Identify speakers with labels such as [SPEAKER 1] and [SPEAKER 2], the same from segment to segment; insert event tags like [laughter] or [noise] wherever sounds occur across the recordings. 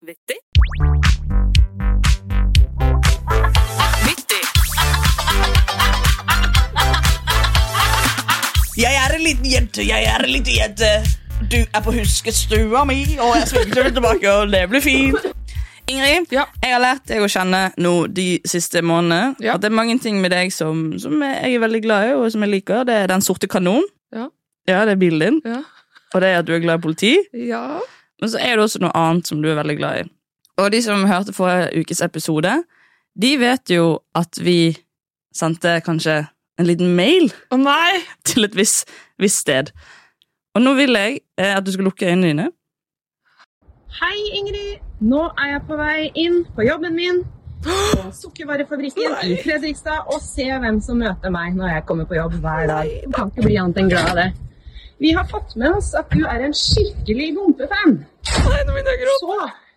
[SPEAKER 1] 90. 90.
[SPEAKER 2] Jeg er en liten jente, jeg er en liten jente. Du er på huskestua mi, og jeg svinger tilbake, og det blir fint. Ingrid,
[SPEAKER 1] Ja.
[SPEAKER 2] jeg har lært deg å kjenne nå de siste månedene.
[SPEAKER 1] Ja.
[SPEAKER 2] At det er mange ting med deg som, som jeg er veldig glad i, og som jeg liker. Det er Den sorte kanon.
[SPEAKER 1] Ja.
[SPEAKER 2] Ja, det er bilen din.
[SPEAKER 1] Ja.
[SPEAKER 2] Og det er at du er glad i politi.
[SPEAKER 1] ja.
[SPEAKER 2] Men så er det også noe annet som du er veldig glad i. Og de som hørte forrige ukes episode, de vet jo at vi sendte kanskje en liten mail
[SPEAKER 1] Å nei!
[SPEAKER 2] til et visst visst sted. Og nå vil jeg eh, at du skal lukke øynene dine.
[SPEAKER 3] Hei, Ingrid. Nå er jeg på vei inn på jobben min på sukkervarefabrikken i Fredrikstad og se hvem som møter meg når jeg kommer på jobb hver dag. Kan ikke bli annet enn glad av det. Vi har fått med oss at du er en skikkelig gompefan. Så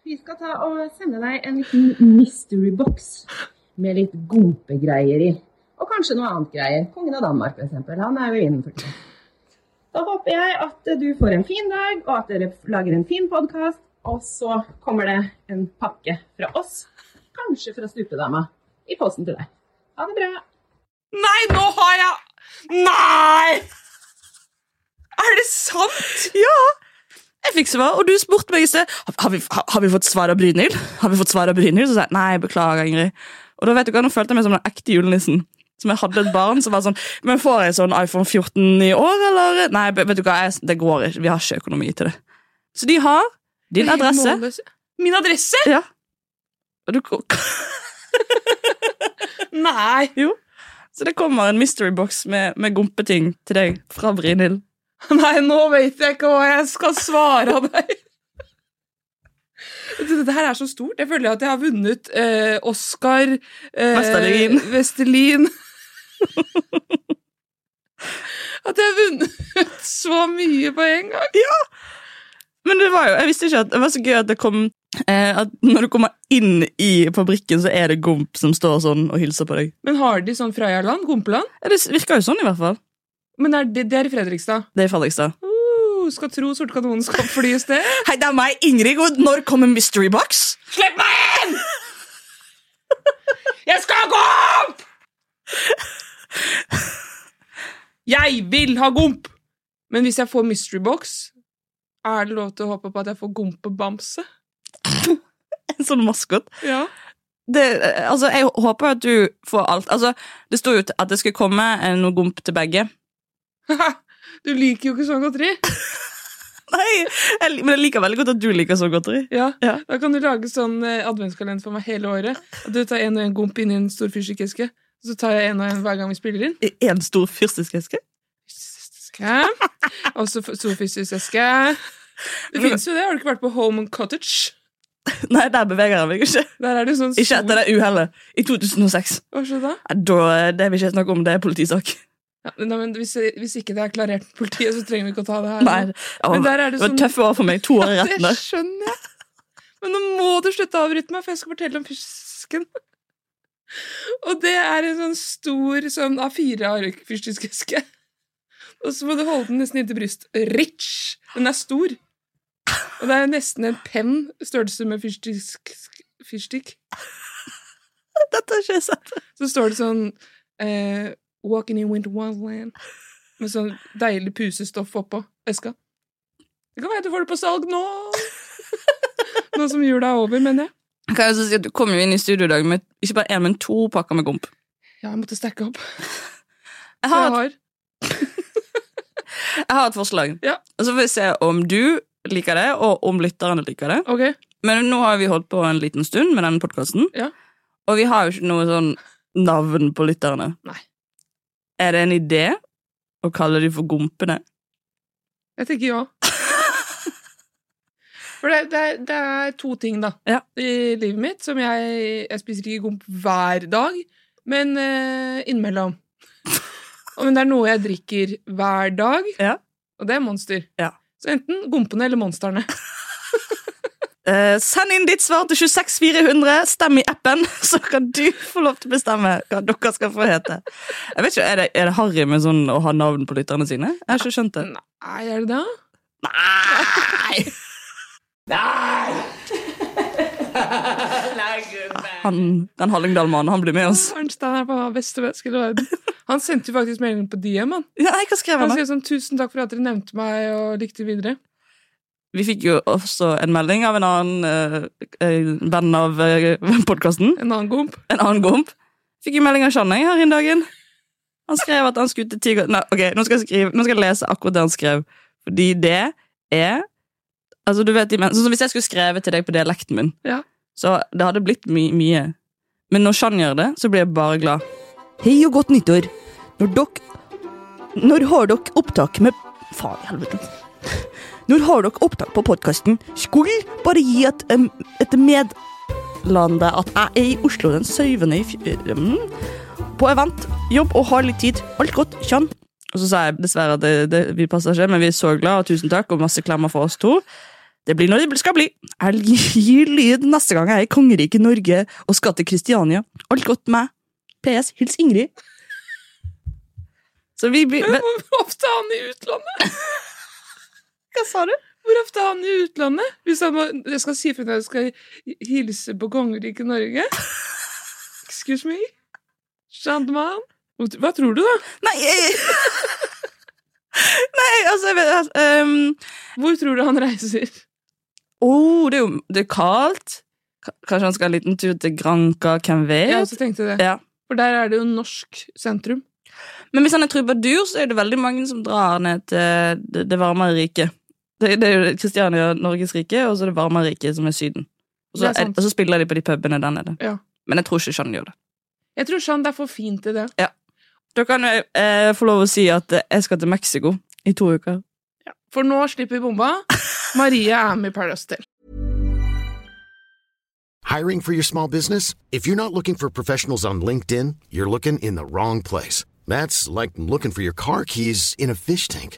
[SPEAKER 3] vi skal ta og sende deg en liten mystery box med litt gompegreier i. Og kanskje noe annet greier. Kongen av Danmark, f.eks. Han er jo innenfor. Da håper jeg at du får en fin dag, og at dere lager en fin podkast. Og så kommer det en pakke fra oss, kanskje fra Stupedama, i posten til deg. Ha det bra.
[SPEAKER 1] Nei, nå har jeg Nei! Er det sant?
[SPEAKER 2] Ja! Jeg fikk svar, og du spurte meg i sted har, har, vi- har, har vi fått svar av Brynhild. Har vi fått svar av Brynhild? Så sa jeg nei, beklager, Ingrid. Og da vet du hva, nå følte jeg meg som den ekte julenissen. Som jeg hadde et barn som var sånn Men får jeg sånn iPhone 14 i år, eller? Nei, be- vet du hva, jeg, det går ikke. Vi har ikke økonomi til det. Så de har din adresse.
[SPEAKER 1] Min adresse?
[SPEAKER 2] Ja. Og du ko- [laughs]
[SPEAKER 1] Nei!
[SPEAKER 2] Så det kommer en mystery box med, med gompeting til deg fra Brynhild.
[SPEAKER 1] Nei, nå vet jeg ikke hva jeg skal svare deg. Dette her er så stort. Jeg føler at jeg har vunnet eh, Oscar eh,
[SPEAKER 2] Vesterlin.
[SPEAKER 1] Vesterlin. At jeg har vunnet så mye på en gang.
[SPEAKER 2] Men det var jo, jeg visste ikke at det var så gøy at det kom eh, At når du kommer inn i fabrikken, så er det Gomp som står sånn og hilser på deg.
[SPEAKER 1] Men har de sånn Frøyaland? Gompeland?
[SPEAKER 2] Ja, det virker jo sånn, i hvert fall.
[SPEAKER 1] Men er det, det er i Fredrikstad.
[SPEAKER 2] Det er i Fredrikstad.
[SPEAKER 1] Uh, skal tro sortkanonen skal fly i sted.
[SPEAKER 2] Hei, det er meg, Ingrid. Og når kommer Mystery Box? [laughs]
[SPEAKER 1] Slipp meg inn! Jeg skal ha gomp! Jeg vil ha gomp! Men hvis jeg får mystery box, er det lov til å håpe på at jeg får gompebamse?
[SPEAKER 2] En sånn maskot.
[SPEAKER 1] Ja.
[SPEAKER 2] Det, eh, altså, jeg håper at du får alt. Altså, det sto jo at det skulle komme eh, noe Gomp til begge.
[SPEAKER 1] [laughs]
[SPEAKER 2] [laughs]
[SPEAKER 1] Du liker jo ikke sånn godteri.
[SPEAKER 2] Nei, jeg, lik- Men jeg liker veldig godt at du liker sånn godteri.
[SPEAKER 1] Ja.
[SPEAKER 2] Ja.
[SPEAKER 1] Da kan du lage sånn eh, adventskalender for meg hele året. At du tar en og en gomp inn i en stor fyrstikkeske. Så tar jeg en og en hver gang vi spiller inn.
[SPEAKER 2] I en stor fyrstikkeske.
[SPEAKER 1] Fyrstikkeske. Og så f- stor fyrstikkeske. Det fins jo det. Har du ikke vært på Home and Cottage?
[SPEAKER 2] Nei, der beveger jeg meg ikke.
[SPEAKER 1] Der er det sånn
[SPEAKER 2] Ikke etter det uhellet i 2006.
[SPEAKER 1] Hva skjer da?
[SPEAKER 2] Nei, Da, eh, det vil ikke jeg snakke om, det er politisak.
[SPEAKER 1] Ja, nei, men hvis, hvis ikke det er klarert med politiet, så trenger vi ikke å ta det her.
[SPEAKER 2] Nei, ja,
[SPEAKER 1] Men der er det
[SPEAKER 2] Altså, det var
[SPEAKER 1] sånn
[SPEAKER 2] tøffe år for meg. To år i retten
[SPEAKER 1] Det
[SPEAKER 2] der.
[SPEAKER 1] skjønner jeg. Men nå må du slutte å avbryte meg, for jeg skal fortelle om fisken. Og det er en sånn stor sånn A4-ark fyrstikkeske. Og så må du holde den nesten inntil bryst. Rich! Den er stor. Og det er nesten en penn størrelse med fyrstikk. fyrstikk.
[SPEAKER 2] [laughs] Dette har ikke jeg sett.
[SPEAKER 1] Så står det sånn eh, Walking in winter wonderland Med sånn deilig pusestoff oppå eska. Det kan være du får det på salg nå! nå som jula er over, mener jeg.
[SPEAKER 2] Kan jeg også si at Du kom jo inn i studio i dag med ikke bare en, men to pakker med gomp.
[SPEAKER 1] Ja, jeg måtte stacke opp. Så jeg
[SPEAKER 2] Jeg har,
[SPEAKER 1] har
[SPEAKER 2] et- jeg har et forslag,
[SPEAKER 1] Ja.
[SPEAKER 2] og så får vi se om du liker det, og om lytterne liker det.
[SPEAKER 1] Ok.
[SPEAKER 2] Men nå har vi holdt på en liten stund med denne podkasten,
[SPEAKER 1] Ja.
[SPEAKER 2] og vi har jo ikke noe sånn navn på lytterne.
[SPEAKER 1] Nei.
[SPEAKER 2] Er det en idé å kalle de for gompene?
[SPEAKER 1] Jeg tenker
[SPEAKER 2] [laughs]
[SPEAKER 1] ja. For det, det, er, det er to ting, da,
[SPEAKER 2] Ja.
[SPEAKER 1] i livet mitt som jeg Jeg spiser ikke gomp hver dag, men eh,
[SPEAKER 2] [laughs]
[SPEAKER 1] innimellom. Og- Men det er noe jeg drikker hver dag,
[SPEAKER 2] Ja.
[SPEAKER 1] og det er Monster.
[SPEAKER 2] Ja.
[SPEAKER 1] Så enten gompene eller monsterne.
[SPEAKER 2] Eh, send inn ditt svar til 26400. Stem i appen, [laughs] så kan du få lov til å bestemme hva dere skal få hete. Jeg vet ikke, Er det, er det harry med sånn å ha navn på lytterne sine? Jeg har ikke skjønt det. [laughs]
[SPEAKER 1] Nei, er det det?
[SPEAKER 2] Nei! Han, den Hallingdal-mannen, han blir med oss.
[SPEAKER 1] Arnstein er bare beste menneske i hele
[SPEAKER 2] [laughs]
[SPEAKER 1] verden. Han sendte jo faktisk meldingen på DM. Han
[SPEAKER 2] Ja, nei, hva skrev
[SPEAKER 1] Han
[SPEAKER 2] han da?
[SPEAKER 1] skrev sånn 'Tusen takk for at dere nevnte meg og likte videre'.
[SPEAKER 2] Vi fikk jo også en melding av en annen eh, eh, venn av uh, podkasten.
[SPEAKER 1] En annen gomp.
[SPEAKER 2] En annen gomp. Fikk jo melding av Shanne her en dagen. Han skrev at han skulle til Tiger... Nei, ok, nå skal, jeg skrive, nå skal jeg lese akkurat det han skrev. Fordi det er Altså, du vet, de men- sånn som Hvis jeg skulle skrevet til deg på dialekten min,
[SPEAKER 1] Ja.
[SPEAKER 2] så det hadde blitt my mye. Men når Shan gjør det, så blir jeg bare glad. Hei og godt nyttår. Når dere Når har dere opptak med Faen i helvete. Når har dere opptak på podkasten? Skulle bare gi et, em, et medlande at jeg er i Oslo den 7. i fj- mm, På event, jobb og har litt tid. Alt godt. Kjann. Og så sa jeg dessverre at det, det, vi passer ikke, men vi er så glad, og tusen takk, og masse klemmer for oss to. Det blir når det skal bli. Jeg gir lyd neste gang jeg er i kongeriket Norge og skal til Kristiania. Alt godt med meg. PS. Hils Ingrid. Så vi blir
[SPEAKER 1] [laughs]
[SPEAKER 2] Hva
[SPEAKER 1] Hvor ofte er han i utlandet?
[SPEAKER 2] sa du?
[SPEAKER 1] Hvor ofte er han i utlandet? Hvis han må, jeg skal si fra når jeg skal hilse på kongeriket Norge. Excuse me. Gentleman. Hva tror du, da?
[SPEAKER 2] Nei, jeg... [laughs] Nei, altså jeg vet, altså, um,
[SPEAKER 1] Hvor tror du han reiser?
[SPEAKER 2] oh, det er jo det er kaldt. Ka- Kanskje han skal ha en liten tur til Granca, hvem vet?
[SPEAKER 1] Jeg også tenkte det.
[SPEAKER 2] Ja.
[SPEAKER 1] For der er det jo norsk sentrum.
[SPEAKER 2] Men hvis han er trubadur, så er det veldig mange som drar ned til det, det varmere riket. Det, det er jo Kristiania, Norges rike, og så er det varmere riket, som er Syden. Og så,
[SPEAKER 1] Det er sant.
[SPEAKER 2] og så spiller de på de pubene der nede.
[SPEAKER 1] Ja.
[SPEAKER 2] Men jeg tror ikke Shan gjør det.
[SPEAKER 1] Jeg tror Jean det er for fint til det.
[SPEAKER 2] Da kan jeg eh, få lov å si at eh, jeg skal til Mexico i to uker.
[SPEAKER 1] For nå slipper vi bomba. Maria er med i Paradise Hotel.
[SPEAKER 4] Hiring for your small business? If you're not looking for professionals on LinkedIn, you're looking in the wrong place. That's like looking for your car keys in a fish tank.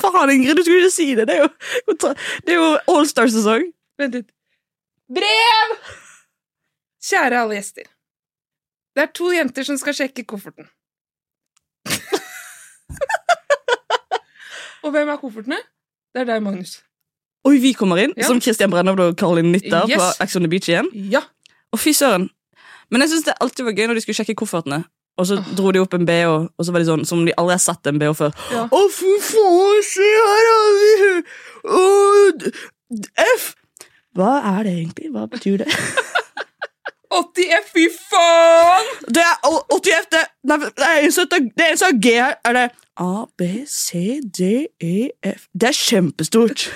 [SPEAKER 2] Faen, Ingrid, du skulle ikke si det! Det er jo, det er jo Allstar-sesong.
[SPEAKER 1] Vent litt. Brev! Kjære alle gjester. Det er to jenter som skal sjekke kofferten. og hvem er koffertene? Det er deg, Magnus.
[SPEAKER 2] Oi, vi kommer inn,
[SPEAKER 1] Ja.
[SPEAKER 2] som Christian Brennavd og Caroline Nitter på
[SPEAKER 1] Yes.
[SPEAKER 2] Ex on the Beach igjen.
[SPEAKER 1] Ja.
[SPEAKER 2] Å, fy søren. Men jeg syns det alltid var gøy når de skulle sjekke koffertene. Og så dro de opp en BH, og så var de sånn som om de aldri har sett en BH før.
[SPEAKER 1] Ja.
[SPEAKER 2] Å, fy faen, se her, har vi- Å, d- d- F! Hva er det egentlig? Hva betyr det?
[SPEAKER 1] 80 F, fy faen!
[SPEAKER 2] [laughs] Det er å- 80 F, det Nei, det er en som heter- det er en som har G her. Er det A, B, C, D, E, F Det er kjempestort.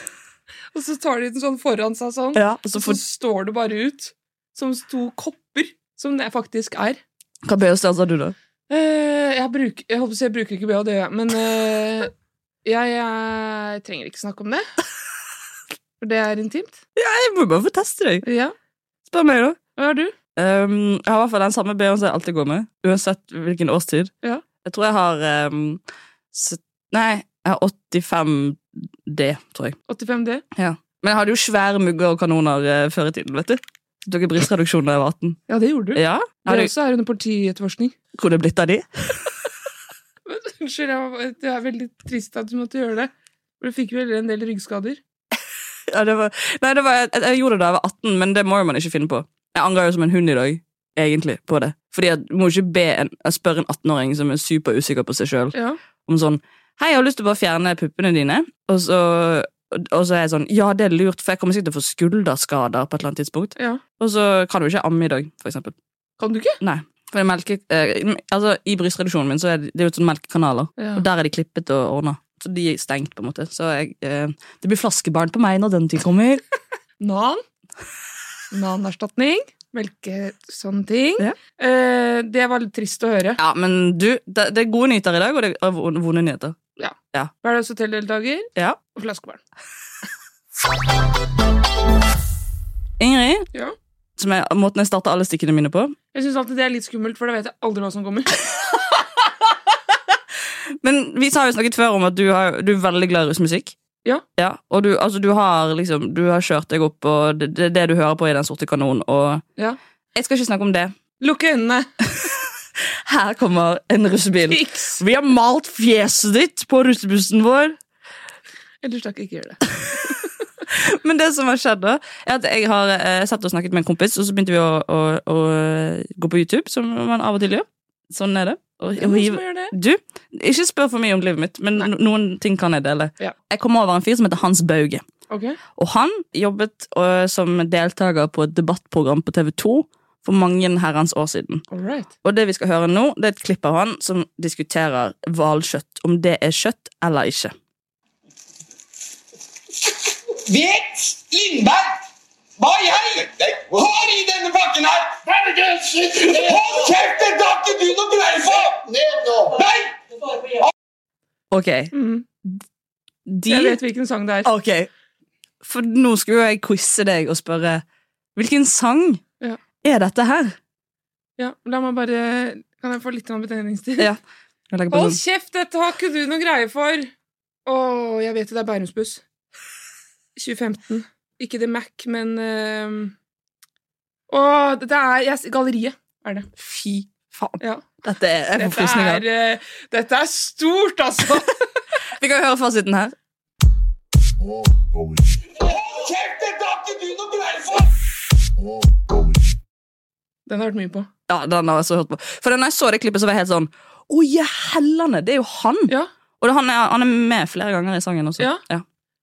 [SPEAKER 1] Og så tar de den sånn foran seg sånn,
[SPEAKER 2] Ja, og så
[SPEAKER 1] og
[SPEAKER 2] får
[SPEAKER 1] så står det bare ut som to kopper, som det faktisk er.
[SPEAKER 2] Hva BH-størrelse har altså, du, da?
[SPEAKER 1] Eh, jeg, bruker, jeg håper å si jeg bruker ikke BH, det gjør jeg. Men eh, jeg, jeg trenger ikke snakke om det. For det er intimt.
[SPEAKER 2] Jeg må bare få teste deg.
[SPEAKER 1] Ja.
[SPEAKER 2] Spør meg, da.
[SPEAKER 1] Hva er du?
[SPEAKER 2] Um, jeg har i hvert fall den samme BH-en som jeg alltid går med, uansett hvilken årstid.
[SPEAKER 1] Ja.
[SPEAKER 2] Jeg tror jeg har um, s- Nei, jeg har 85D, tror jeg.
[SPEAKER 1] 85D?
[SPEAKER 2] Men jeg hadde jo svære mugger og kanoner eh, før i tiden, vet du. Jeg Tok en brystreduksjon da jeg var 18.
[SPEAKER 1] Ja, det gjorde du.
[SPEAKER 2] Ja, jeg
[SPEAKER 1] Mm. Det
[SPEAKER 2] hadde,
[SPEAKER 1] også er under politietterforskning. [laughs]
[SPEAKER 2] Kunne det blitt av de? [laughs]
[SPEAKER 1] Men Unnskyld, jeg var- det er veldig trist at du måtte gjøre det. For du fikk vel en del ryggskader.
[SPEAKER 2] Ja, det var, nei, det var, jeg, jeg gjorde det da jeg var 18, men det må jo man ikke finne på. Jeg angrer jo som en hund i dag, egentlig, på det. Fordi jeg må jo ikke be en, jeg spørre en 18-åring som er superusikker på seg sjøl,
[SPEAKER 1] Ja.
[SPEAKER 2] om sånn Hei, jeg har lyst til å bare fjerne puppene dine. Og så, og så er jeg sånn Ja, det er lurt, for jeg kommer sikkert til å få skulderskader på et eller annet tidspunkt.
[SPEAKER 1] ja.
[SPEAKER 2] Og så kan du ikke amme i dag, for eksempel.
[SPEAKER 1] Kan du ikke?
[SPEAKER 2] Nei. For det er melke, eh, altså, I brystreduksjonen min så er det, det er jo sånne melkekanaler,
[SPEAKER 1] Ja.
[SPEAKER 2] og der er de klippet og ordna. Så de er stengt, på en måte. Så jeg, eh, det blir flaskebarn på meg når den tid kommer.
[SPEAKER 1] Nan. Nanerstatning. Melke sånne ting.
[SPEAKER 2] Ja.
[SPEAKER 1] Eh, det var litt trist å høre.
[SPEAKER 2] [laughs] Ja, men du, det, det er gode nyheter i dag, og det er vonde vonde nyheter.
[SPEAKER 1] Hverdagshotelldeltaker
[SPEAKER 2] Ja.
[SPEAKER 1] og flaskebarn.
[SPEAKER 2] Ingrid,
[SPEAKER 1] Ja.
[SPEAKER 2] som er måten jeg starter alle stikkene mine på
[SPEAKER 1] Jeg syns alltid det er litt skummelt, for da vet jeg aldri hva som kommer.
[SPEAKER 2] [laughs] Men vi har jo snakket før om at du, har, du er veldig glad i russmusikk.
[SPEAKER 1] Ja.
[SPEAKER 2] og du, altså, du, har, liksom, du har kjørt deg opp, og det det er det du hører på i Den sorte kanon. Og
[SPEAKER 1] Ja.
[SPEAKER 2] jeg skal ikke snakke om det.
[SPEAKER 1] Lukke øynene.
[SPEAKER 2] Her kommer en russebil.
[SPEAKER 1] Fiks!
[SPEAKER 2] [laughs] Vi har malt fjeset ditt på russebussen vår.
[SPEAKER 1] Ellers takk, ikke gjør det.
[SPEAKER 2] Men det som har skjedd da, er at jeg har eh, satt og snakket med en kompis, og så begynte vi å, å, å gå på YouTube, som man av og til gjør. Sånn er det. Og,
[SPEAKER 1] Det er
[SPEAKER 2] og
[SPEAKER 1] noen
[SPEAKER 2] hive-
[SPEAKER 1] som gjør det.
[SPEAKER 2] Du, ikke spør for mye om livet mitt, men no noen ting kan jeg dele.
[SPEAKER 1] Ja.
[SPEAKER 2] Jeg kom over en fyr som heter Hans Bauge.
[SPEAKER 1] Ok.
[SPEAKER 2] Og han jobbet øh, som deltaker på et debattprogram på TV 2 for mange herrens år siden.
[SPEAKER 1] All right.
[SPEAKER 2] Og det vi skal høre nå, det er et klipp av han som diskuterer hvalkjøtt. Om det er kjøtt eller ikke.
[SPEAKER 5] Vet Lindberg hva i helvete har i denne pakken her? Hold kjeft! Det har ikke du noe greie på! Nei!
[SPEAKER 2] Ok.
[SPEAKER 1] Mm.
[SPEAKER 2] De,
[SPEAKER 1] Jeg vet hvilken sang det er.
[SPEAKER 2] ok. For nå skulle jo jeg quize deg og spørre hvilken sang
[SPEAKER 1] Ja.
[SPEAKER 2] er dette
[SPEAKER 1] [laughs]
[SPEAKER 2] her?
[SPEAKER 1] Ja, la meg bare Kan jeg få litt grann betegningstid?
[SPEAKER 2] Ja. Jeg legger på
[SPEAKER 1] [laughs] Hold
[SPEAKER 2] sånn.
[SPEAKER 1] kjeft, dette har ikke du noe greie for! Å, jeg vet det, det er Bærumsbuss. 2015. Ikke The Mac, men eh, Å, dette er jeg, Galleriet er det.
[SPEAKER 2] Fy faen.
[SPEAKER 1] Ja.
[SPEAKER 2] Dette er jeg får
[SPEAKER 1] Dette
[SPEAKER 2] frysninger.
[SPEAKER 1] er, eh, dette er stort, altså!
[SPEAKER 2] [laughs] Vi kan høre fasiten her.
[SPEAKER 5] Hold kjeft! Det har ikke du noe greie på!
[SPEAKER 1] Den har jeg hørt mye på.
[SPEAKER 2] Ja, den har jeg så hørt på. For da jeg så det klippet, så var jeg helt sånn Å, ja, hellene! Det er jo han!
[SPEAKER 1] Ja,
[SPEAKER 2] Og det, han, er, han er med flere ganger i sangen også.
[SPEAKER 1] Ja.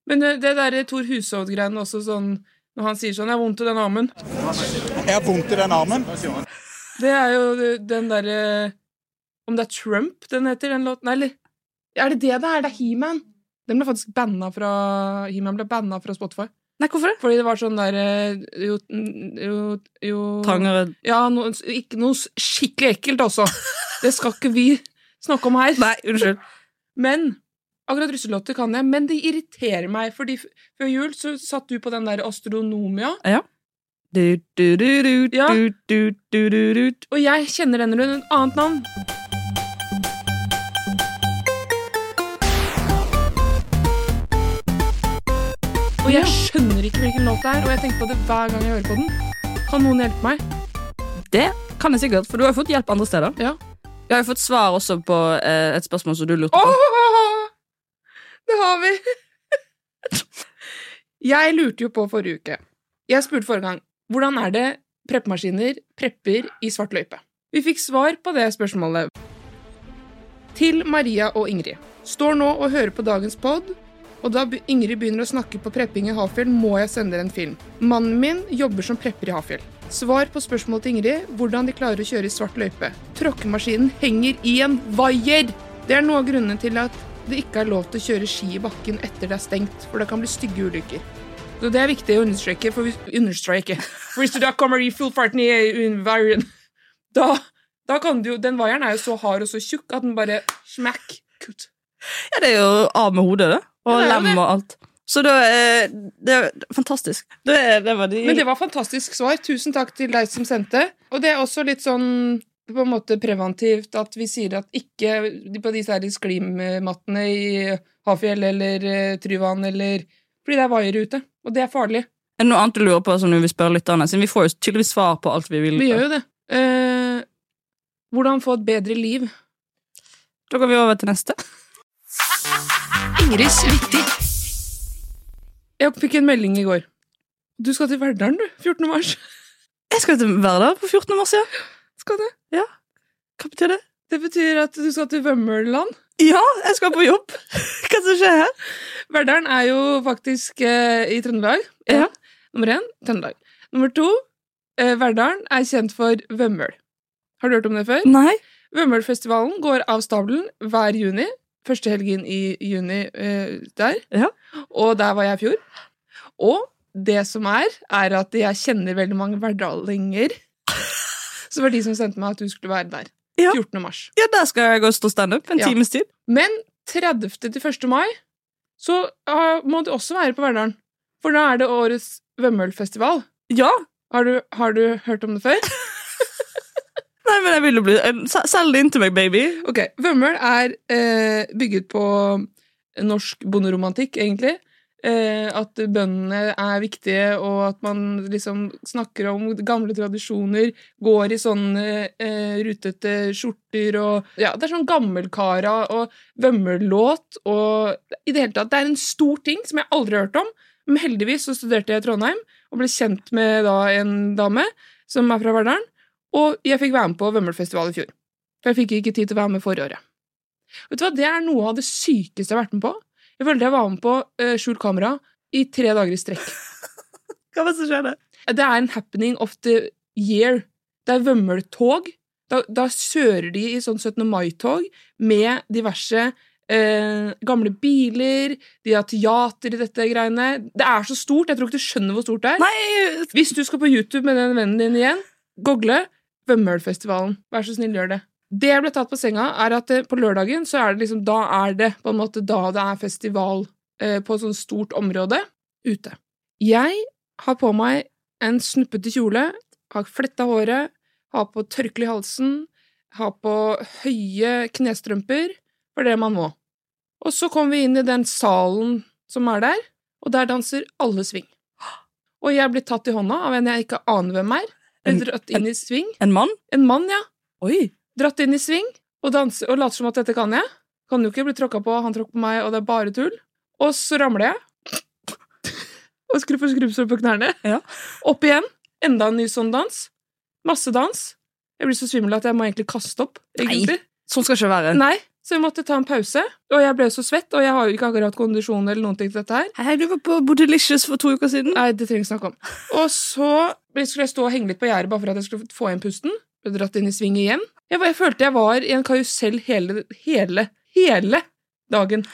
[SPEAKER 1] Men eh, det derre Tor Hushovd-greiene også, sånn når han sier sånn 'Jeg har vondt i den armen',
[SPEAKER 6] Jeg har vondt i den armen.
[SPEAKER 1] det er jo eh, den derre Om det er Trump den heter, den låten? Nei, eller er det det det er? Det er He-Man. Den ble faktisk banna fra He-Man ble banna fra Spotify.
[SPEAKER 2] Nei, hvorfor det?
[SPEAKER 1] Fordi det var sånn der eh, Jo, jo, jo
[SPEAKER 2] Trangere
[SPEAKER 1] Ja, no, ikke noe s- skikkelig ekkelt, altså. Det skal ikke vi snakke om her.
[SPEAKER 2] Nei, unnskyld.
[SPEAKER 1] Men akkurat russelåter kan jeg, men de irriterer meg. Fordi f- før jul så satt du på den der Astronomia,
[SPEAKER 2] Du, du, du, du,
[SPEAKER 1] Ja.
[SPEAKER 2] du, du, du, du, du.
[SPEAKER 1] og jeg kjenner den under et annet navn. Og jeg skjønner ikke hvilken låt det er, og jeg tenker på det hver gang jeg hører på den. Kan noen hjelpe meg?
[SPEAKER 2] Det kan jeg sikkert, for du har jo fått hjelp andre steder.
[SPEAKER 1] Ja.
[SPEAKER 2] Jeg har jo fått svar også på eh, et spørsmål som du lurte på.
[SPEAKER 1] Åh, det har vi! Jeg lurte jo på forrige uke. Jeg spurte forrige gang hvordan er det preppemaskiner prepper i svart løype. Vi fikk svar på det spørsmålet. Til Maria og Ingrid. Står nå og hører på dagens pod, og da be- Ingrid begynner å snakke på prepping i Hafjell, må jeg sende dere en film. Mannen min jobber som prepper i Hafjell. Svar på spørsmålet til Ingrid hvordan de klarer å kjøre i svart løype. Tråkkemaskinen henger i en vaier! Det er noe av grunnen til at det ikke er lov til å kjøre ski i bakken etter det er stengt, for det kan bli stygge ulykker. Så Det er viktig å understreke, for hvis, understreke. For hvis du da kommer i full farten i environ, da, da kan du jo Den vaieren er jo så hard og så tjukk at den bare smack. Kutt.
[SPEAKER 2] Ja, det er jo av med hodet, det. Og
[SPEAKER 1] Ja, det er jo
[SPEAKER 2] lem
[SPEAKER 1] det.
[SPEAKER 2] og alt. Så da eh, Det er fantastisk. Det, er- det var de
[SPEAKER 1] Men det var fantastisk svar. Tusen takk til deg som sendte. Og det er også litt sånn på en måte preventivt at vi sier at ikke de- på disse her sklimmattene i Hafjell eller eh, Tryvann eller Fordi det er vaiere ute, og det er farlig.
[SPEAKER 2] Er det noe annet du lurer på som du vil spørre lytterne? Siden vi får jo tydeligvis svar på alt vi vil.
[SPEAKER 1] Vi gjør jo det. Eh, hvordan få et bedre liv?
[SPEAKER 2] Da går vi over til neste.
[SPEAKER 1] Jeg fikk en melding i går. Du skal til Verdalen, du. 14. mars. [laughs]
[SPEAKER 2] Jeg skal til Verdal på 14. mars, ja.
[SPEAKER 1] Skal du?
[SPEAKER 2] Hva betyr det?
[SPEAKER 1] Det betyr at du skal til Vømmerland.
[SPEAKER 2] Ja, jeg skal på jobb. [laughs] Hva som skjer her?
[SPEAKER 1] Verdalen er jo faktisk eh, i Trøndelag.
[SPEAKER 2] Ja.
[SPEAKER 1] Nummer én Trøndelag. Nummer to eh, Verdalen er kjent for Vømmøl. Har du hørt om det før?
[SPEAKER 2] Nei.
[SPEAKER 1] Vømmølfestivalen går av stabelen hver juni. Første helgen i juni eh, der.
[SPEAKER 2] Ja.
[SPEAKER 1] Og der var jeg i fjor. Og det som er, er at jeg kjenner veldig mange verdalinger. Så det var de [laughs] som sendte meg at du skulle være der.
[SPEAKER 2] Ja.
[SPEAKER 1] 14. mars.
[SPEAKER 2] Ja, der skal jeg gå og stå standup en
[SPEAKER 1] Ja.
[SPEAKER 2] times tid.
[SPEAKER 1] Men 30. til 1. mai så ah, må du også være på Verdalen. For da er det årets Vømmølfestival.
[SPEAKER 2] Ja.
[SPEAKER 1] Har du, har du hørt om det før?
[SPEAKER 2] Nei, men jeg vil jo bli eh, se- Selg det inn til meg, baby.
[SPEAKER 1] Ok, Vømmøl er eh, bygget på norsk bonderomantikk, egentlig. Eh, at bøndene er viktige, og at man liksom snakker om gamle tradisjoner. Går i sånne eh, rutete skjorter og Ja, det er sånn gammelkara og Vømmøl-låt og I det hele tatt. Det er en stor ting som jeg aldri har hørt om. Men heldigvis så studerte jeg i Trondheim og ble kjent med da en dame som er fra Verdalen. Og jeg fikk være med på Vømmølfestival i fjor. For jeg fikk ikke tid til å være med forrige året. Vet du hva, Det er noe av det sykeste jeg har vært med på. Jeg følte jeg var med på uh, skjult kamera i tre dager i strekk.
[SPEAKER 2] Hva var det som skjedde?
[SPEAKER 1] Det er en happening of the year. Det er vømmeltog. Da, da kjører de i sånn 17. mai-tog med diverse eh, gamle biler. De har teater i dette greiene. Det er så stort. Jeg tror ikke du skjønner hvor stort det er.
[SPEAKER 2] Nei,
[SPEAKER 1] [laughs] Hvis du skal på YouTube med den vennen din igjen, google Vømmølfestivalen. Vær så snill, gjør det. Det jeg ble tatt på senga, er at eh, på lørdagen så er det liksom Da er det på en måte da det er festival eh, på et sånt stort område ute. Jeg har på meg en snuppete kjole, har fletta håret, har på tørkle i halsen, har på høye knestrømper, for det man må. Og så kommer vi inn i den salen som er der, og der danser alle swing. Og jeg blir tatt i hånda av en jeg ikke aner hvem er.
[SPEAKER 2] En-
[SPEAKER 1] Blir dratt inn i sving.
[SPEAKER 2] en mann?
[SPEAKER 1] En mann, ja.
[SPEAKER 2] Oi.
[SPEAKER 1] Dratt inn i sving og, danser, og later som at dette kan jeg. Kan jo ikke bli tråkka på, han tråkker på meg, og det er bare tull. Og så ramler jeg. og skru for skrubbsår på knærne.
[SPEAKER 2] Ja.
[SPEAKER 1] Opp igjen. Enda en ny sånn dans. Masse dans. Jeg blir så svimmel at jeg må egentlig kaste opp. egentlig.
[SPEAKER 2] Sånn skal det ikke være.
[SPEAKER 1] Nei, så vi måtte ta en pause. Og jeg ble så svett, og jeg har jo ikke akkurat kondisjon eller noen ting til dette her.
[SPEAKER 2] Hei, du var på Bodelicious for to uker siden.
[SPEAKER 1] Nei, det trenger vi ikke snakke om. Og så skulle jeg stå og henge litt på gjerdet bare for at jeg skulle få igjen pusten. Ble dratt inn i sving igjen. Jeg, var- jeg følte jeg var i en karusell hele, hele, hele dagen.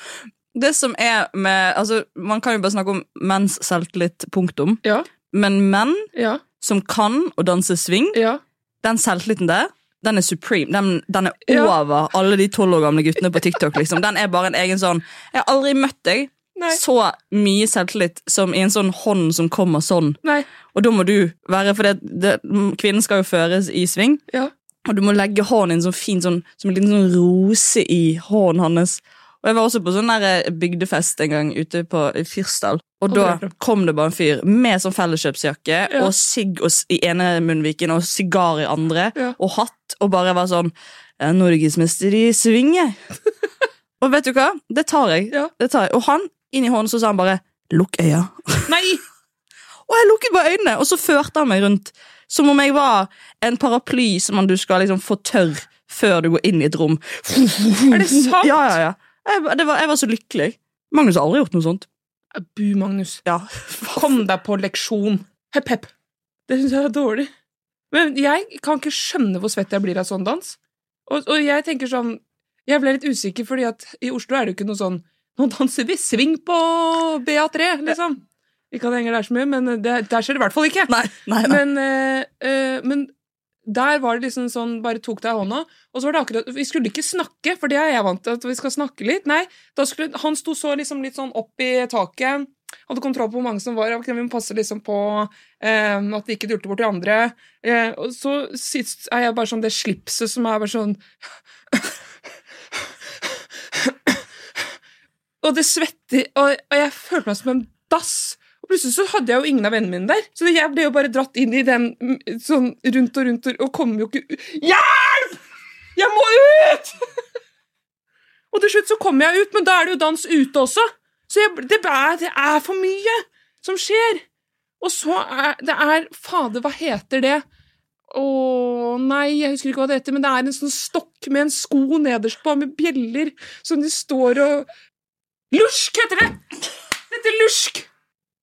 [SPEAKER 2] Det som er med, altså Man kan jo bare snakke om menns selvtillit, punktum.
[SPEAKER 1] Ja,
[SPEAKER 2] Men menn
[SPEAKER 1] ja,
[SPEAKER 2] som kan å danse swing,
[SPEAKER 1] ja.
[SPEAKER 2] den selvtilliten der, den er supreme. Den, den er
[SPEAKER 1] Ja.
[SPEAKER 2] over alle de tolv år gamle guttene på TikTok. liksom. Den er bare en egen sånn Jeg har aldri møtt deg
[SPEAKER 1] Nei,
[SPEAKER 2] så mye selvtillit som i en sånn hånd som kommer sånn.
[SPEAKER 1] nei,
[SPEAKER 2] Og da må du være For det, det, kvinnen skal jo føres i sving.
[SPEAKER 1] ja.
[SPEAKER 2] Og du må legge hånden din sånn fin, sånn, som en liten sånn rose i hånden hans. Og jeg var også på sånn der eh, bygdefest en gang ute på i Fyrsdal. Og
[SPEAKER 1] Og bra,
[SPEAKER 2] da
[SPEAKER 1] bra.
[SPEAKER 2] kom det bare en fyr med sånn felleskjøpsjakke
[SPEAKER 1] Ja.
[SPEAKER 2] og sigg og s- i ene munnviken og sigar i andre
[SPEAKER 1] Ja.
[SPEAKER 2] og hatt, og bare var sånn Jeg er norgesmester i sving, jeg.
[SPEAKER 1] [laughs]
[SPEAKER 2] og vet du hva? Det tar jeg.
[SPEAKER 1] Ja.
[SPEAKER 2] Det tar jeg. Og han, inn i hånden, så sa han bare Lukk øya.
[SPEAKER 1] Nei!
[SPEAKER 2] Og jeg lukket bare øynene, og så førte han meg rundt. Som om jeg var en paraply som man- du skal liksom få tørr før du går inn i et rom. Er
[SPEAKER 1] det sant?
[SPEAKER 2] Ja, ja, ja. Jeg, det var, jeg var så lykkelig. Magnus har aldri gjort noe sånt.
[SPEAKER 1] Bu, Magnus.
[SPEAKER 2] Ja.
[SPEAKER 1] Kom deg på leksjon. Hepp, hepp. Det syns jeg er dårlig. Men jeg kan ikke skjønne hvor svett jeg blir av sånn dans. Og, og jeg tenker sånn Jeg ble litt usikker, fordi at i Oslo er det jo ikke noe sånn Nå danser vi sving på BA3, liksom. Ikke at jeg henger der så mye, men det, der skjer det i hvert fall ikke.
[SPEAKER 2] Nei, nei, nei.
[SPEAKER 1] Men, eh, eh, men der var det liksom sånn Bare tok deg i hånda. Og så var det akkurat Vi skulle ikke snakke, for det er jeg vant til. at vi skal snakke litt Nei, da skulle, Han sto så liksom litt sånn opp i taket. Hadde kontroll på hvor mange som var. ok, Vi må passe liksom på eh, at vi ikke dulter bort de andre. Eh, og så sist er jeg bare sånn det slipset som er bare sånn [laughs] Og det svetter, og, og jeg følte meg som en dass. Og plutselig så hadde jeg jo ingen av vennene mine der. Så jeg ble jo bare dratt inn i den mm, sånn rundt og rundt og, og kom jo ikke ut. Hjelp! Jeg må ut! [laughs] og til slutt så kom jeg ut, men da er det jo dans ute også. Så jeg, det, er, det er for mye som skjer. Og så er det er Fader, hva heter det? Å nei, jeg husker ikke hva det heter, men det er en sånn stokk med en sko nederst på, med bjeller, som de står og Lusk heter det! Dette er lusk!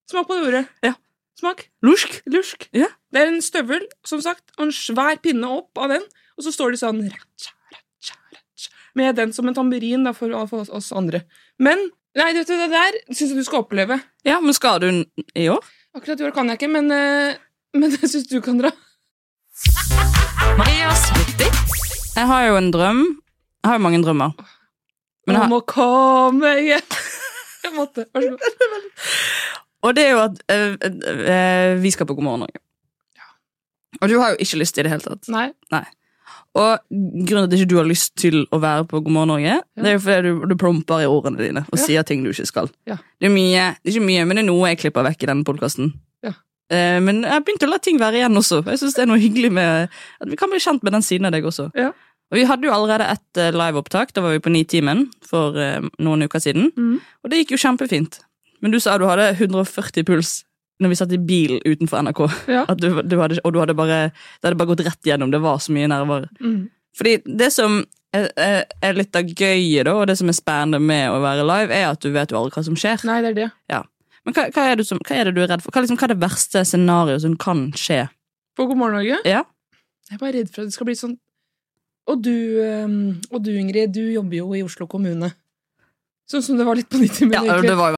[SPEAKER 1] Smak på det ordet.
[SPEAKER 2] Ja.
[SPEAKER 1] Smak.
[SPEAKER 2] Lusk.
[SPEAKER 1] Lusk.
[SPEAKER 2] Ja.
[SPEAKER 1] Det er en støvel, som sagt, og en svær pinne opp av den, Og så står de sånn ratcha, ratcha, ratcha, med den som en tamburin da, for, for oss- oss andre. Men Nei, vet du, det der syns jeg du skal oppleve.
[SPEAKER 2] Ja, men skal du n- i år?
[SPEAKER 1] Akkurat i år kan jeg ikke, men, eh, men [laughs] jeg syns du kan dra.
[SPEAKER 2] Jeg har jo en drøm. Jeg har jo mange drømmer. Men jeg
[SPEAKER 1] jeg
[SPEAKER 2] har-
[SPEAKER 1] må komme hjem. [laughs] Jeg måtte. Vær så god.
[SPEAKER 2] Og det er jo at øh, øh, øh, vi skal på God morgen Norge. Og du har jo ikke lyst i det hele tatt.
[SPEAKER 1] Nei.
[SPEAKER 2] Og grunnen til at ikke du har lyst til å være på God morgen Norge, det er jo fordi du, du plumper i ordene dine og
[SPEAKER 1] Ja.
[SPEAKER 2] sier ting du ikke skal.
[SPEAKER 1] Ja.
[SPEAKER 2] Det er mye, det er ikke mye, men det er noe jeg klipper vekk i denne podkasten.
[SPEAKER 1] Ja.
[SPEAKER 2] men jeg har begynt å la ting være igjen også. Jeg synes det er noe hyggelig med at Vi kan bli kjent med den siden av deg også.
[SPEAKER 1] Ja.
[SPEAKER 2] Og Vi hadde jo allerede et eh, liveopptak. Da var vi på Nitimen for eh, noen uker siden.
[SPEAKER 1] Mhm.
[SPEAKER 2] Og det gikk jo kjempefint. Men du sa du hadde 140 puls når vi satt i bil utenfor NRK.
[SPEAKER 1] Ja.
[SPEAKER 2] At du, du hadde, og du hadde bare, det hadde bare gått rett gjennom. Det var så mye nerver.
[SPEAKER 1] Mm.
[SPEAKER 2] Fordi det som er, er er litt av gøyet, da, og det som er spennende med å være live, er at du vet jo aldri hva som skjer.
[SPEAKER 1] Nei, det er det.
[SPEAKER 2] Men hva, hva, er du som, hva er det du er redd for? Hva, er liksom, hva er det verste scenarioet som kan skje?
[SPEAKER 1] På God morgen, Norge.
[SPEAKER 2] Ja.
[SPEAKER 1] Jeg er bare redd for at det skal bli sånn Og du, ehm, og du Ingrid, du jobber jo i Oslo kommune. Sånn som det var litt på 90-men,
[SPEAKER 2] Ja, det var jo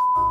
[SPEAKER 7] a-"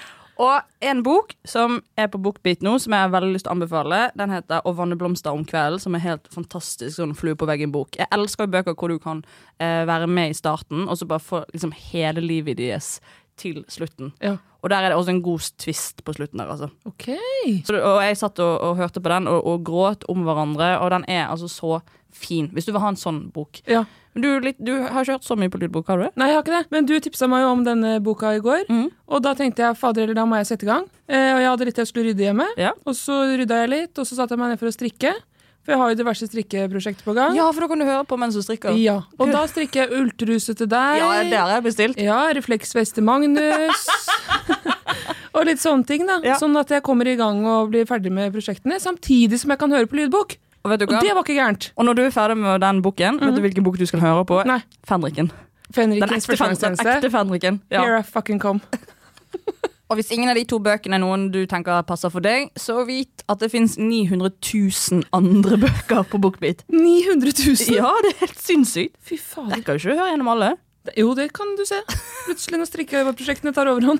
[SPEAKER 2] Og en bok som er på BookBeat nå, som jeg har veldig lyst til å anbefale, den heter Å vanne blomster om kvelden, som er helt fantastisk sånn flue på veggen-bok. Jeg elsker jo bøker hvor du kan eh, være med i starten, og så bare få liksom hele livet deres til slutten.
[SPEAKER 1] Ja.
[SPEAKER 2] Og der er det også en god twist på slutten der, altså.
[SPEAKER 1] Ok.
[SPEAKER 2] Så, det- og jeg satt og, og hørte på den, og, og gråt om hverandre, og den er altså så fin. Hvis du vil ha en sånn bok.
[SPEAKER 1] Ja.
[SPEAKER 2] Men du, er litt, du har ikke hørt så mye på lydbok, har du det?
[SPEAKER 1] Nei, jeg har ikke det. Men du tipsa meg jo om denne boka i går.
[SPEAKER 2] Mm.
[SPEAKER 1] Og da tenkte jeg fader eller da må jeg sette i gang. Eh, og jeg hadde litt jeg skulle rydde hjemme.
[SPEAKER 2] Ja.
[SPEAKER 1] Og så rydda jeg litt, og så satte jeg meg ned for å strikke. For jeg har jo diverse strikkeprosjekter på gang.
[SPEAKER 2] Ja, for da kan du høre på mens du strikker.
[SPEAKER 1] Ja. Og da strikker jeg ultruse til deg.
[SPEAKER 2] Ja, det har jeg bestilt.
[SPEAKER 1] Ja, refleksvest til
[SPEAKER 2] [laughs]
[SPEAKER 1] Magnus. og litt sånne ting, da.
[SPEAKER 2] Ja.
[SPEAKER 1] Sånn at jeg kommer i gang og blir ferdig med prosjektene, samtidig som jeg kan høre på lydbok.
[SPEAKER 2] Og vet du
[SPEAKER 1] Og
[SPEAKER 2] hva?
[SPEAKER 1] det var ikke gærent.
[SPEAKER 2] Og når du er ferdig med den boken, vet du hvilken bok du skal høre på?
[SPEAKER 1] Nei.
[SPEAKER 2] Fenriken. Den
[SPEAKER 1] Fenrikens
[SPEAKER 2] ekte, Fen- den sånn ekte
[SPEAKER 1] førstegangstjeneste.
[SPEAKER 2] Fenriken.
[SPEAKER 1] Here
[SPEAKER 2] Ja.
[SPEAKER 1] I fucking
[SPEAKER 2] [laughs]
[SPEAKER 1] come.
[SPEAKER 2] Og hvis ingen av de to bøkene er noen du tenker passer for deg, så vit at det fins 900 000 andre [laughs] bøker på BookBeat.
[SPEAKER 1] 900 000!
[SPEAKER 2] Ja, det er helt sinnssykt.
[SPEAKER 1] Fy fader.
[SPEAKER 2] Jeg kan jo ikke høre gjennom alle.
[SPEAKER 1] Jo, det kan du se. Plutselig når strikkeprosjektene tar overhånd.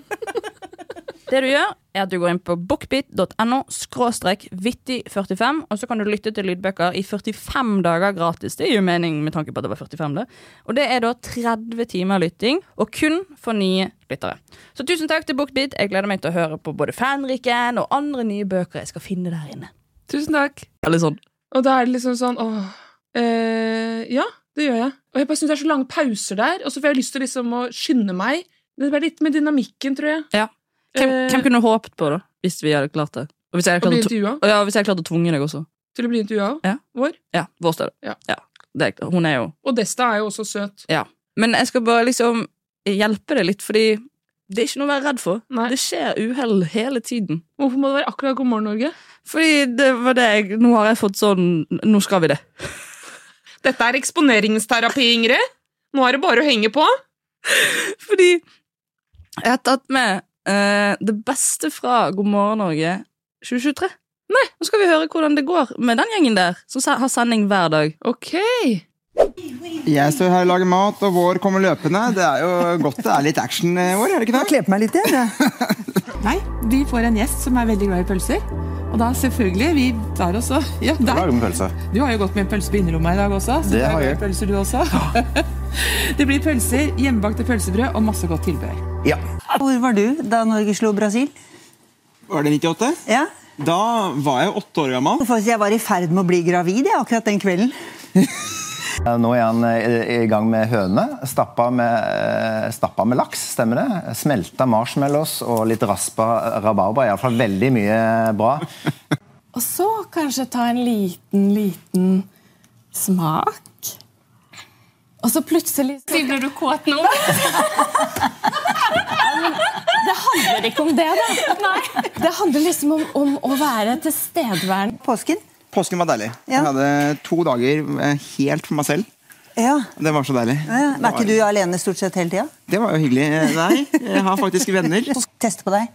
[SPEAKER 2] Det du gjør, er at du går inn på bookbit.no skråstrek vittig45, og så kan du lytte til lydbøker i 45 dager gratis. Det gir jo mening med tanke på at det var 45, det. Og det er da 30 timer lytting, og kun for nye lyttere. Så tusen takk til Bookbit. Jeg gleder meg til å høre på både Fanriken og andre nye bøker jeg skal finne der inne.
[SPEAKER 1] Tusen takk.
[SPEAKER 2] Eller sånn.
[SPEAKER 1] Og da er det liksom sånn åh eh, Ja, det gjør jeg. Og jeg bare syns det er så lange pauser der, og så får jeg lyst til liksom å skynde meg. Det er bare litt med dynamikken, tror jeg.
[SPEAKER 2] Ja. Hvem,
[SPEAKER 1] Eh,
[SPEAKER 2] hvem kunne håpet på, da? Hvis vi hadde klart det. Og hvis
[SPEAKER 1] å
[SPEAKER 2] jeg hadde
[SPEAKER 1] bli
[SPEAKER 2] klart å,
[SPEAKER 1] intervjua.
[SPEAKER 2] tv- ja, hvis jeg hadde klart å tvunge deg også.
[SPEAKER 1] Til å bli intervjua av
[SPEAKER 2] Ja.
[SPEAKER 1] vår.
[SPEAKER 2] Ja, vår støtte.
[SPEAKER 1] Ja.
[SPEAKER 2] Det, hun er jo
[SPEAKER 1] Og Desta er jo også søt.
[SPEAKER 2] Ja. Men jeg skal bare liksom hjelpe deg litt, fordi det er ikke noe å være redd for.
[SPEAKER 1] Nei.
[SPEAKER 2] Det skjer uhell hele tiden.
[SPEAKER 1] Hvorfor må det være akkurat God morgen, Norge?
[SPEAKER 2] Fordi det var det jeg Nå har jeg fått sånn Nå skal vi det. [laughs]
[SPEAKER 1] Dette er eksponeringsterapi, Ingrid. Nå er det bare å henge på.
[SPEAKER 2] Fordi jeg har tatt med eh, det beste fra God morgen Norge 2023. Nei, nå skal vi høre hvordan det går med den gjengen der, som se- har sending hver dag.
[SPEAKER 1] Ok.
[SPEAKER 8] Jeg står her og lager mat, og vår kommer løpende. Det er jo godt det er litt action i år, er det ikke det?
[SPEAKER 9] kle på meg litt igjen, jeg. Nei, vi får en gjest som er veldig glad i pølser. Og da selvfølgelig, vi tar også Ja, der.
[SPEAKER 8] Lager med pølse.
[SPEAKER 9] Du har jo gått med pølse på innerlomma i dag også. Så
[SPEAKER 8] Det
[SPEAKER 9] du er
[SPEAKER 8] har
[SPEAKER 9] glad i
[SPEAKER 8] jeg.
[SPEAKER 9] Pølser, du
[SPEAKER 8] [laughs]
[SPEAKER 9] også. det blir pølser, hjemmebakte pølsebrød og masse godt tilbehør.
[SPEAKER 8] Ja.
[SPEAKER 10] Hvor var du da Norge slo Brasil?
[SPEAKER 8] Var det 98?
[SPEAKER 10] Ja.
[SPEAKER 8] Da var jeg åtte år gammel.
[SPEAKER 10] Faktisk, Jeg var i ferd med å bli gravid jeg, akkurat den kvelden.
[SPEAKER 11] Ja, Nå er han eh, i gang med høne. Stappa med, eh, stappa med laks, stemmer det? Smelta marshmallows og litt raspa rabarber. Iallfall veldig mye bra.
[SPEAKER 12] Og så kanskje ta en liten, liten smak. Og så plutselig Blir du kåt nå? det handler ikke om det, da. Det handler liksom om, om å være tilstedeværende.
[SPEAKER 10] Påsken?
[SPEAKER 8] Påsken var deilig.
[SPEAKER 10] Ja.
[SPEAKER 8] Jeg hadde to dager eh, helt for meg selv.
[SPEAKER 10] Ja.
[SPEAKER 8] Det var så deilig.
[SPEAKER 10] Ja,
[SPEAKER 8] Det
[SPEAKER 10] Var
[SPEAKER 8] var-
[SPEAKER 10] ikke du alene stort sett hele tida?
[SPEAKER 8] Det var jo hyggelig. Eh, Nei, jeg har faktisk venner.
[SPEAKER 10] Teste på deg.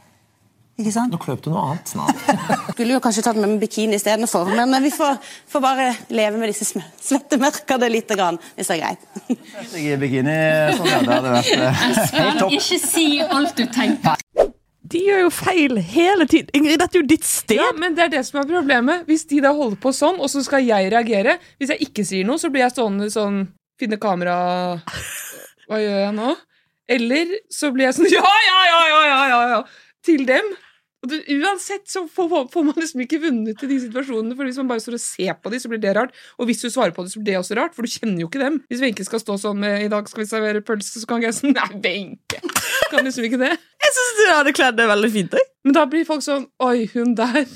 [SPEAKER 10] Ikke sant?
[SPEAKER 11] Nå kløp du noe annet snart.
[SPEAKER 13] [laughs] Skulle jo kanskje tatt med meg bikini istedenfor, men vi får, får bare leve med disse sm- svette mørkene lite grann, hvis det er greit.
[SPEAKER 11] Jeg er i bikini, sånn ja, det hadde vært eh, helt topp.
[SPEAKER 13] ikke si alt du tenker.
[SPEAKER 2] De gjør jo feil hele tiden. Ingrid, dette er jo ditt sted.
[SPEAKER 1] Ja, men det er det som er problemet. Hvis de da holder på sånn, og så skal jeg reagere Hvis jeg ikke sier noe, så blir jeg stående sånn Finne kamera Hva gjør jeg nå? Eller så blir jeg sånn [laughs] Ja, ja, ja, ja, ja, ja, ja til dem. Og du, uansett så får, får- får man liksom ikke vunnet i de situasjonene. For hvis man bare står og ser på dem, så blir det rart. Og hvis du svarer på det, så blir det også rart, for du kjenner jo ikke dem. Hvis Wenche skal stå sånn med 'i dag skal vi servere pølse', så kan ikke jeg sånn [laughs] Nei, Wenche! Kan liksom ikke det.
[SPEAKER 2] Jeg syns du hadde kledd det veldig fint.
[SPEAKER 1] Men da blir folk sånn Oi, hun der.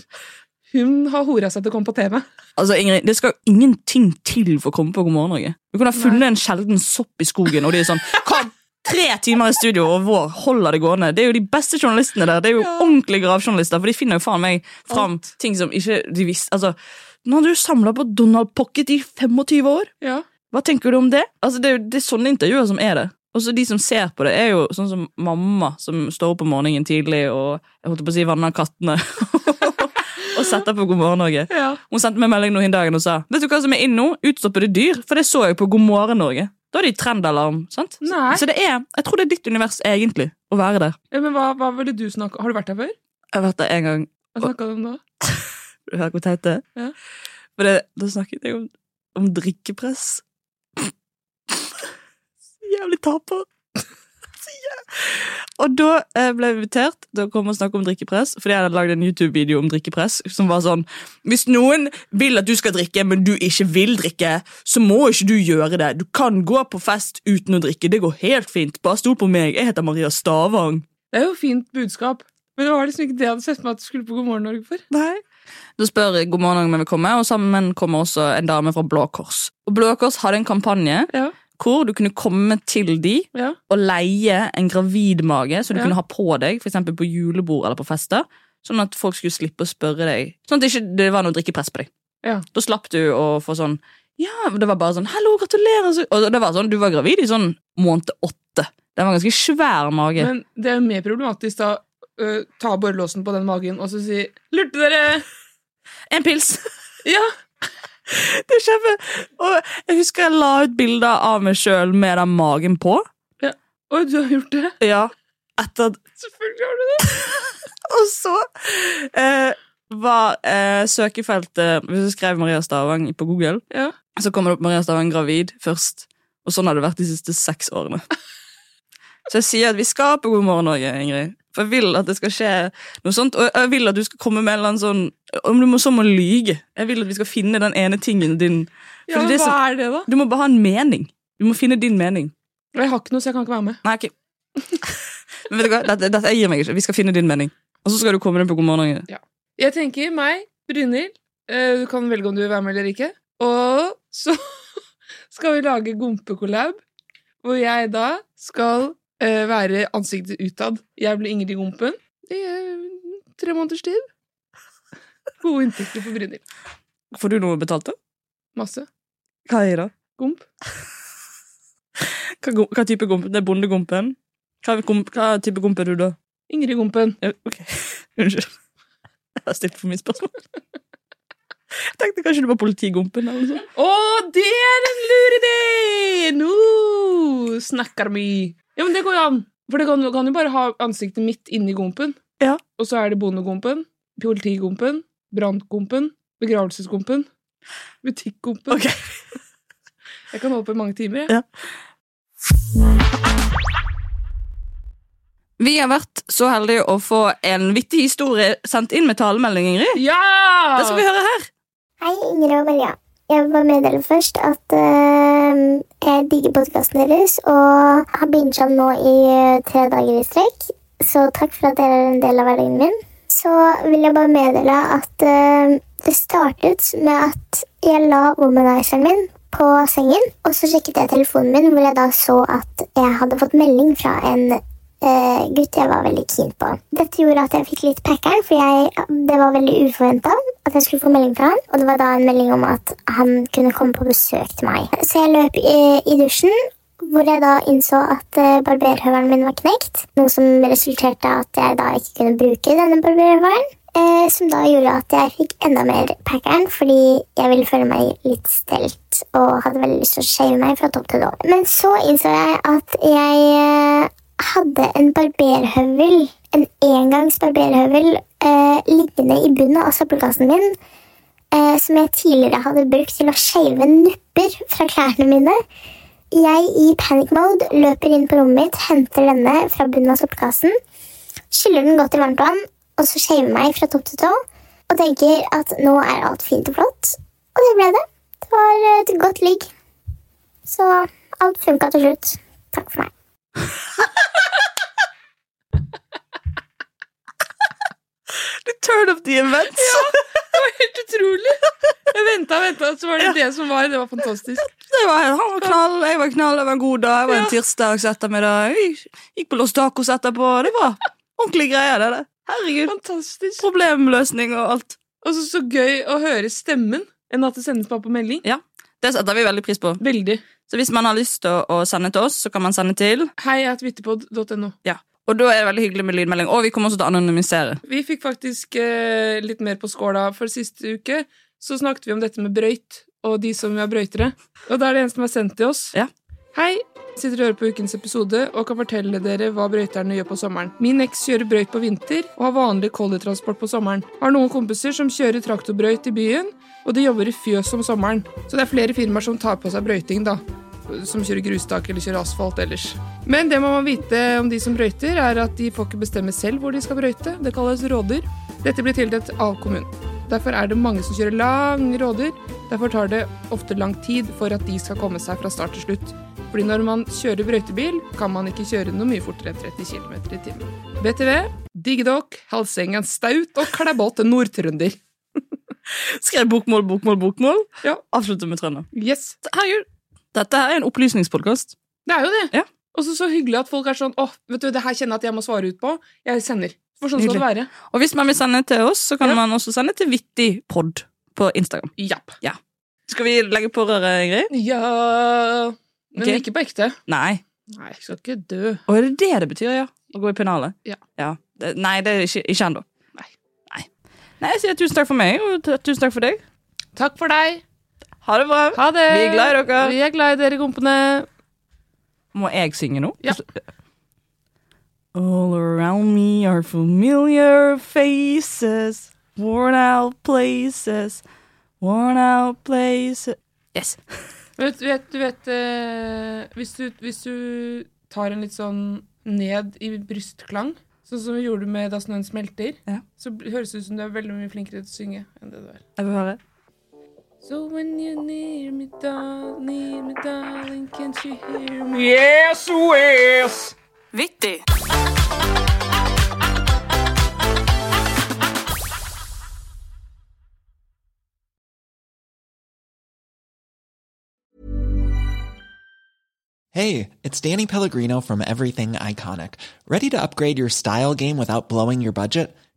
[SPEAKER 1] Hun har hora seg til å komme på TV.
[SPEAKER 2] Altså, Ingrid, Det skal jo ingenting til for å komme på God morgen Norge. Du kunne ha funnet en sjelden sopp i skogen, og de er sånn Kom, tre timer i studio, og vår holder det gående. Det er jo de beste journalistene der. Det er jo ordentlige gravjournalister, for de finner jo faen meg fram ting som ikke de visste Altså, nå har du samla på Donald Pocket i 25 år. Hva tenker du om det? Altså, det er jo det er sånne intervjuer som er det. Og så De som ser på det, er jo sånn som mamma, som står opp om morgenen tidlig og jeg holdt på å si vanner kattene. [laughs] og setter på God morgen Norge.
[SPEAKER 1] Ja.
[SPEAKER 2] Hun sendte meg melding nå en dag og sa Vet du hva som er inn nå? Utstoppede dyr. For det så jeg på God morgen Norge. Da er det trendalarm. sant?
[SPEAKER 1] Nei.
[SPEAKER 2] Så det er, jeg tror det er ditt univers egentlig, å være der.
[SPEAKER 1] Ja, men hva, hva ville du snakke Har du vært der før?
[SPEAKER 2] Jeg har vært der en gang.
[SPEAKER 1] Hva snakka du om da?
[SPEAKER 2] Du hører hvor teit det er?
[SPEAKER 1] Ja.
[SPEAKER 2] For det, da snakket jeg om, om drikkepress. Så jævlig taper. Så jæv- Og da eh, ble jeg invitert til å komme og snakke om drikkepress, fordi jeg hadde lagd en YouTube-video om drikkepress som var sånn Hvis noen vil at du skal drikke, men du ikke vil drikke, så må ikke du gjøre det. Du kan gå på fest uten å drikke. Det går helt fint. Bare stol på meg. Jeg heter Maria Stavang.
[SPEAKER 1] Det er jo fint budskap. Men det var liksom ikke det jeg hadde sett for meg at du skulle på God morgen Norge for.
[SPEAKER 2] Nei. Da spør jeg God morgen om jeg vil komme, og sammen kommer også en dame fra Blå Kors. Og Blå Kors hadde en kampanje hvor du kunne komme til de og leie en gravid mage som du
[SPEAKER 1] Ja.
[SPEAKER 2] kunne ha på deg, f.eks. på julebord eller på fester. Sånn at folk skulle slippe å spørre deg. Sånn at det ikke det var noe drikkepress på deg.
[SPEAKER 1] Ja.
[SPEAKER 2] Da slapp du å få sånn Ja, det var bare sånn 'Hallo, gratulerer!' så- Og det var sånn, Du var gravid i sånn måned åtte. Det var en ganske svær mage.
[SPEAKER 1] Men det er jo mer problematisk da øh, ta borrelåsen på den magen og så si 'Lurte dere!'
[SPEAKER 2] En pils!
[SPEAKER 1] ja.
[SPEAKER 2] Det er kjempe... Og jeg husker jeg la ut bilder av meg sjøl med den magen på.
[SPEAKER 1] Ja. Oi, du har gjort det?
[SPEAKER 2] Ja. Etter at
[SPEAKER 1] Selvfølgelig har du det!
[SPEAKER 2] [laughs] Og så eh, var eh, søkefeltet Hvis du skrev Maria Stavang på Google, så kommer det opp Maria Stavang gravid først. Og sånn har det vært de siste seks årene. Så jeg sier at vi skal på God morgen Norge, Ingrid. For jeg vil at det skal skje noe sånt. Og jeg vil at du skal komme med en eller annen sånn Om du må så må lyge. Jeg vil at vi skal finne den ene tingen din.
[SPEAKER 1] Ja,
[SPEAKER 2] Fordi
[SPEAKER 1] men
[SPEAKER 2] så-
[SPEAKER 1] hva er det da?
[SPEAKER 2] Du må bare ha en mening. Du må finne din mening.
[SPEAKER 1] Og jeg har ikke noe, så jeg kan ikke være med.
[SPEAKER 2] Nei, ok. [laughs] Men vet du hva? Dette, dette gir meg ikke. Vi skal finne din mening. Og så skal du komme deg på God morgen Norge.
[SPEAKER 1] Jeg tenker meg, Brynhild. eh, Du kan velge om du vil være med eller ikke. Og så [laughs] skal vi lage Gompe-kollab, hvor jeg da skal eh, være ansiktet utad. Jeg blir Ingrid Gompen i eh, tre måneders tid. Gode inntekter for Brynhild.
[SPEAKER 2] Får du noe betalt, da?
[SPEAKER 1] Masse.
[SPEAKER 2] Hva er det?
[SPEAKER 1] Gomp.
[SPEAKER 2] Hva, gom- hva type gomp? Det er bondegompen? Hva, gomp, hva type gomp er du, da?
[SPEAKER 1] Ingrid Gompen.
[SPEAKER 2] Ja, Ok, [laughs] Unnskyld. Jeg har stilt for mye spørsmål. Jeg tenkte kanskje du var politigompen. eller noe sånt.
[SPEAKER 1] Å, det er en lur idé! Nå snakker vi. Ja, men det går jo an. For det kan, kan jo bare ha ansiktet mitt inni gompen. Og så er det bondegompen, politigompen, brandgompen, begravelsesgompen, butikkgompen. [laughs] Jeg kan holde på i mange timer, jeg.
[SPEAKER 2] Vi har vært så heldige å få en vittig historie sendt inn med talemelding, Ingrid.
[SPEAKER 1] Ja!
[SPEAKER 2] Det skal vi høre her.
[SPEAKER 14] Hei, Ingrid og Maria. Jeg vil bare meddele først at eh, jeg digger podkasten deres og har binga nå i eh, tre dager i strekk. Så takk for at dere er en del av hverdagen min. Så vil jeg bare meddele at eh, det startet med at jeg la womanizeren min på sengen, og så sjekket jeg telefonen min, hvor jeg da så at jeg hadde fått melding fra en eh, gutt jeg var veldig keen på. Dette gjorde at jeg fikk litt packeren, for jeg, det var veldig uforventa at jeg skulle få melding fra han. Og det var da en melding om at han kunne komme på besøk til meg. Så jeg løp i, i dusjen, hvor jeg da innså at eh, barberhøvelen min var knekt. Noe som resulterte i at jeg da ikke kunne bruke denne barberhøvelen. Eh, som da gjorde at jeg fikk enda mer packeren, fordi jeg ville føle meg litt stelt og hadde veldig lyst til å shave meg fra topp til tå. Men så innså jeg at jeg eh, hadde en barberhøvel, en engangs barberhøvel, eh, liggende i bunnen av søppelkassen min, eh, som jeg tidligere hadde brukt til å shave nupper fra klærne mine. Jeg i panic mode løper inn på rommet mitt, henter denne fra bunnen av søppelkassen, skyller den godt i varmt vann, og så shaver meg fra topp til tå, og tenker at nå er alt fint og flott. Og det ble det. Det var et godt ligg. Så alt funka til slutt. Takk for meg.
[SPEAKER 2] Turn up the events.
[SPEAKER 1] Ja, det var helt utrolig. Jeg venta og venta, så var det det som var. Det var fantastisk.
[SPEAKER 2] Det var, han var knall, jeg var knall, det var en god dag. Det var en tirsdags ettermiddag. Jeg gikk på Los Tacos etterpå. Det var ordentlige greier. det der. Herregud.
[SPEAKER 1] Fantastisk.
[SPEAKER 2] Problemløsning og alt.
[SPEAKER 1] Og så så gøy å høre stemmen enn at det sendes bare på melding.
[SPEAKER 2] Ja, Det setter vi veldig pris på.
[SPEAKER 1] Veldig.
[SPEAKER 2] Så hvis man har lyst til å å sende til oss, så kan man sende til
[SPEAKER 1] Hei at vittepod.no.
[SPEAKER 2] Ja. Og da er det veldig hyggelig med lydmelding. Og vi kommer også til å anonymisere. [laughs]
[SPEAKER 1] Vi fikk faktisk eh, litt mer på skåla for siste uke. Så snakket vi om dette med brøyt og de som er brøytere. Og da er det en som er sendt til oss. Hei! Sitter og hører på ukens episode og kan fortelle dere hva brøyterne gjør på sommeren. Min eks kjører brøyt på vinter og har vanlig kollitransport på sommeren. Har noen kompiser som kjører traktorbrøyt i byen, og de jobber i fjøs om sommeren. Så det er flere firmaer som tar på seg brøyting, da. Som kjører grustak eller kjører asfalt ellers. Men det må man vite om de som brøyter, er at de får ikke bestemme selv hvor de skal brøyte. Det kalles rådyr. Dette blir tildelt av kommunen. Derfor er det mange som kjører lange rådyr. Derfor tar det ofte lang tid for at de skal komme seg fra start til slutt. Fordi når man kjører brøytebil, kan man ikke kjøre noe mye fortere enn 30 km i timen. BTV, Diggedokk, Halsengen Staut og Klæbolt Nord-Trønder.
[SPEAKER 2] Skrev bokmål, bokmål, bokmål.
[SPEAKER 1] Ja.
[SPEAKER 2] Avslutter med trønder.
[SPEAKER 1] Yes.
[SPEAKER 2] Herregud. Dette her er en opplysningspodkast.
[SPEAKER 1] Det er jo det. Og så så hyggelig at folk er sånn åh, vet du, det her kjenner jeg at jeg må svare ut på. Jeg sender. For sånn skal det være.
[SPEAKER 2] Nydelig. Og hvis man vil sende til oss, så kan man også sende til vittigpod på Instagram. Ja. Skal vi legge på røret, Ingrid?
[SPEAKER 1] Ja Men
[SPEAKER 2] Ok.
[SPEAKER 1] ikke på ekte.
[SPEAKER 2] Nei.
[SPEAKER 1] Nei, jeg skal ikke dø.
[SPEAKER 2] Og er det det det betyr, ja? Å gå i pennalet?
[SPEAKER 1] Ja.
[SPEAKER 2] Det, nei, det er ikke, ikke ennå. Nei. Nei. Jeg sier tusen takk for meg, og t- tusen takk for deg.
[SPEAKER 1] Takk for deg.
[SPEAKER 2] Ha det bra.
[SPEAKER 1] Ha det.
[SPEAKER 2] Vi er glad i dere.
[SPEAKER 1] Vi er glad i dere, kompene.
[SPEAKER 2] Må jeg synge nå? Ja. All around me are familiar faces, worn out places, worn out places Yes.
[SPEAKER 1] Vet, du vet, du vet eh, hvis, du, hvis du tar en litt sånn ned i brystklang, sånn som vi gjorde med Da snøen smelter, så bl- høres det ut som du er veldig mye flinkere til å synge enn det du er.
[SPEAKER 2] Jeg vil høre.
[SPEAKER 1] So when you need me, da, need me, darling, can't you hear me?
[SPEAKER 2] Yes, yes! Vittig.
[SPEAKER 15] Hey, it's Danny Pellegrino from Everything Iconic. Ready to upgrade your style game without blowing your budget?